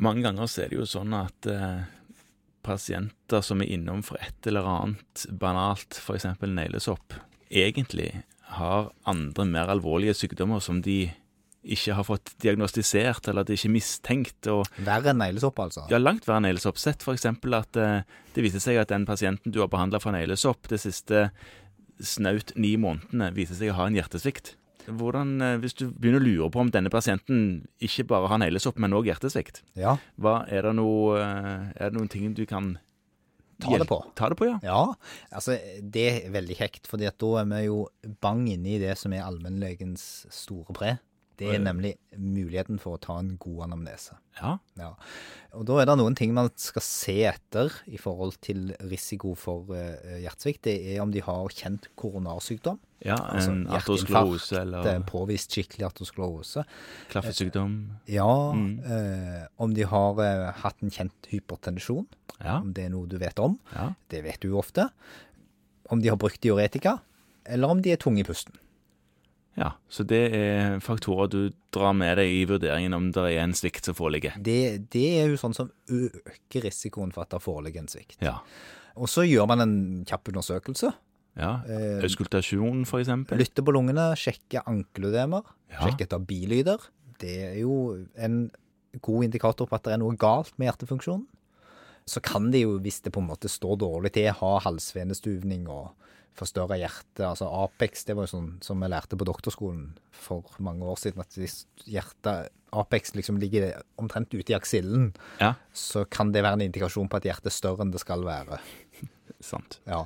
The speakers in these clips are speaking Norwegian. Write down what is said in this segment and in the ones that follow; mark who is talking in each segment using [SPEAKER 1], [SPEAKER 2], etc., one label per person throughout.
[SPEAKER 1] Mange ganger så er det jo sånn at eh, pasienter som er innom for et eller annet banalt, f.eks. neglesopp, egentlig har andre mer alvorlige sykdommer som de ikke har fått diagnostisert, eller at de ikke er mistenkt. og
[SPEAKER 2] Verre enn neglesopp, altså.
[SPEAKER 1] ja, langt verre neglesopp. Sett f.eks. at eh, det viser seg at den pasienten du har behandla for neglesopp de siste snaut ni månedene, viser seg å ha en hjertesvikt. Hvordan, eh, Hvis du begynner å lure på om denne pasienten ikke bare har neglesopp, men òg hjertesvikt,
[SPEAKER 2] Ja.
[SPEAKER 1] hva, er, det noe, eh, er det noen ting du kan
[SPEAKER 2] Ta det
[SPEAKER 1] hjel-
[SPEAKER 2] på.
[SPEAKER 1] Ta det på, ja.
[SPEAKER 2] Ja, altså det er veldig kjekt, fordi at da er vi jo bang inne i det som er allmennlegens store pre. Det er nemlig muligheten for å ta en god anamnese.
[SPEAKER 1] ja.
[SPEAKER 2] Ja. Og da er det noen ting man skal se etter i forhold til risiko for eh, hjertesvikt. Det er om de har kjent koronarsykdom.
[SPEAKER 1] Ja,
[SPEAKER 2] altså
[SPEAKER 1] en
[SPEAKER 2] hjerteinfarkt,
[SPEAKER 1] artosklerose
[SPEAKER 2] Det er
[SPEAKER 1] eller
[SPEAKER 2] påvist skikkelig artosklerose.
[SPEAKER 1] klaffesykdom.
[SPEAKER 2] Ja,
[SPEAKER 1] Mm.
[SPEAKER 2] eh, om de har eh, hatt en kjent hypertensjon,
[SPEAKER 1] Ja.
[SPEAKER 2] om det er noe du vet om.
[SPEAKER 1] ja.
[SPEAKER 2] Det vet du jo ofte. Om de har brukt diuretika, eller om de er tunge i pusten.
[SPEAKER 1] ja. Så det er faktorer du drar med deg i vurderingen om det er en svikt som foreligger.
[SPEAKER 2] Det, det er jo sånn som øker risikoen for at det foreligger en svikt.
[SPEAKER 1] Ja.
[SPEAKER 2] Og så gjør man en kjapp undersøkelse.
[SPEAKER 1] Ja,
[SPEAKER 2] Eh,
[SPEAKER 1] Auskultasjon, for eksempel.
[SPEAKER 2] Lytter på lungene, sjekker ankelødemer,
[SPEAKER 1] Ja.
[SPEAKER 2] sjekker etter bilyder. Det er jo en god indikator på at det er noe galt med hjertefunksjonen. Så kan de jo, hvis det på en måte står dårlig til, ha halsvenestuvning og forstørre hjerte. Altså Apex, det var jo sånn som vi lærte på doktorskolen for mange år siden, at hvis hjertet, Apex liksom ligger omtrent ute i aksillen,
[SPEAKER 1] Ja,
[SPEAKER 2] så kan det være en indikasjon på at hjertet er større enn det skal være. eh,
[SPEAKER 1] sant.
[SPEAKER 2] Ja.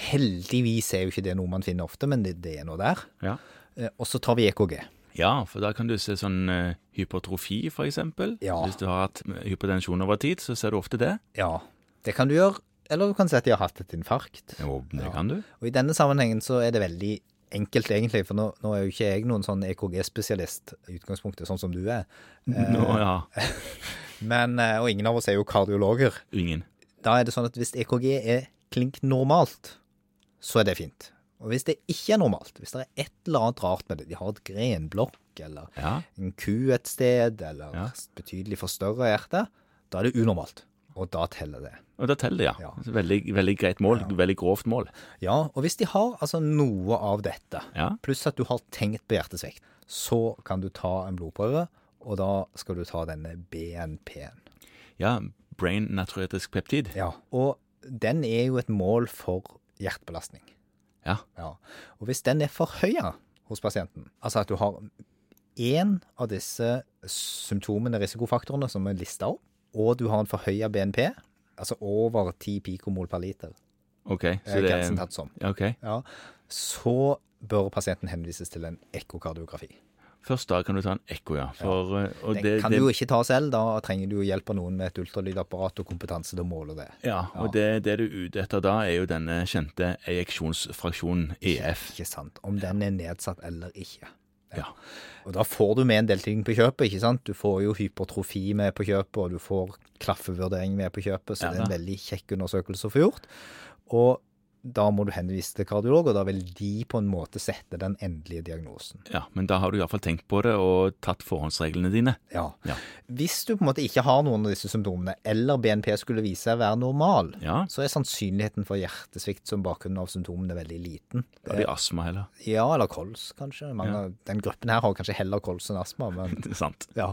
[SPEAKER 2] Heldigvis er jo ikke det noe man finner ofte, men det, det er nå der.
[SPEAKER 1] Ja.
[SPEAKER 2] Eh, Og så tar vi EKG.
[SPEAKER 1] ja, for da kan du se sånn eh, hypertrofi, for eksempel.
[SPEAKER 2] Ja.
[SPEAKER 1] Hvis du har hatt hypotensjon over tid, så ser du ofte det.
[SPEAKER 2] Ja, det kan du gjøre. Eller du kan si at de har hatt et infarkt.
[SPEAKER 1] Jo, det
[SPEAKER 2] Ja.
[SPEAKER 1] kan du.
[SPEAKER 2] Og i denne sammenhengen så er det veldig enkelt, egentlig. For nå, nå er jo ikke jeg noen sånn EKG-spesialist i utgangspunktet, sånn som du er.
[SPEAKER 1] Nå, ja.
[SPEAKER 2] Eh, Men, eh, og ingen av oss er jo kardiologer.
[SPEAKER 1] Ingen.
[SPEAKER 2] Da er det sånn at hvis EKG er klink normalt, så er det fint. Og hvis det ikke er normalt, hvis det er et eller annet rart med det, de har et grenblokk eller
[SPEAKER 1] Ja,
[SPEAKER 2] en ku et sted, eller
[SPEAKER 1] Ja.
[SPEAKER 2] betydelig forstørra hjerte, da er det unormalt. Og da teller det.
[SPEAKER 1] og da teller det, ja.
[SPEAKER 2] Ja.
[SPEAKER 1] Veldig, veldig greit mål. Veldig grovt mål.
[SPEAKER 2] Ja, og hvis de har altså noe av dette,
[SPEAKER 1] Ja.
[SPEAKER 2] pluss at du har tenkt på hjertesvikt, så kan du ta en blodprøve, og da skal du ta denne BNP-en.
[SPEAKER 1] ja brain natriuretisk peptid.
[SPEAKER 2] Ja. Og den er jo et mål for hjertebelastning.
[SPEAKER 1] Ja.
[SPEAKER 2] Ja. Og hvis den er forhøya hos pasienten, altså at du har én av disse symptomene, risikofaktorene, som er lista opp, og du har en forhøya BNP, altså over 10 pikomol per liter,
[SPEAKER 1] OK.
[SPEAKER 2] er Eh, grensen tatt som,
[SPEAKER 1] Ja, OK.
[SPEAKER 2] ja, så bør pasienten henvises til en ekkokardiografi.
[SPEAKER 1] Først da kan du ta en ekko, ja. For, eh, og
[SPEAKER 2] Den
[SPEAKER 1] det,
[SPEAKER 2] kan
[SPEAKER 1] det,
[SPEAKER 2] du jo ikke ta selv, da trenger du jo hjelp av noen med et ultralydapparat og kompetanse til å måle det.
[SPEAKER 1] ja, og det, det du er ute etter da, er jo denne kjente ejeksjonsfraksjonen E EF.
[SPEAKER 2] Ikke sant? Om den er nedsatt eller ikke.
[SPEAKER 1] Ja.
[SPEAKER 2] Og da får du med en del ting på kjøpet, ikke sant? Du får jo hypertrofi med på kjøpet, og du får klaffevurdering med på kjøpet, så
[SPEAKER 1] Ja
[SPEAKER 2] det er en
[SPEAKER 1] da.
[SPEAKER 2] veldig kjekk undersøkelse å få gjort. Og da må du henvise til kardiolog, og da vil de på en måte sette den endelige diagnosen.
[SPEAKER 1] Ja, men da har du iallfall tenkt på det og tatt forhåndsreglene dine.
[SPEAKER 2] Ja.
[SPEAKER 1] Ja.
[SPEAKER 2] Hvis du på en måte ikke har noen av disse symptomene, eller BNP skulle vise seg å være normal,
[SPEAKER 1] Ja.
[SPEAKER 2] så er sannsynligheten for hjertesvikt som bakgrunn av symptomene veldig liten.
[SPEAKER 1] Da har de astma heller.
[SPEAKER 2] Ja, eller kols, kanskje. Mange, av Den gruppen her har kanskje heller kols enn astma, men
[SPEAKER 1] Det er sant.
[SPEAKER 2] ja.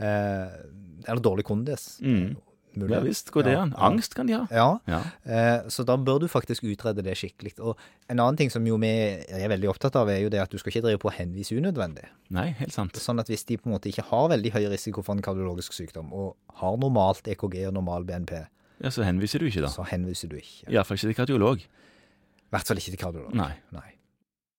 [SPEAKER 2] Eh, eller dårlig kondis. Mulig.
[SPEAKER 1] Mm. Ja visst, går det
[SPEAKER 2] Ja,
[SPEAKER 1] an. Angst kan de ha.
[SPEAKER 2] Ja.
[SPEAKER 1] Ja.
[SPEAKER 2] Eh, Så da bør du faktisk utrede det skikkelig. Og en annen ting som jo vi er veldig opptatt av, er jo det at du skal ikke drive på å henvise unødvendig.
[SPEAKER 1] Nei, helt sant.
[SPEAKER 2] Sånn at hvis de på en måte ikke har veldig høy risiko for en kardiologisk sykdom, og har normalt EKG og normal BNP,
[SPEAKER 1] Ja, Så henviser du ikke, da.
[SPEAKER 2] så henviser du ikke.
[SPEAKER 1] Iallfall ikke til kardiolog.
[SPEAKER 2] I hvert fall ikke til kardiolog.
[SPEAKER 1] Nei.
[SPEAKER 2] Nei.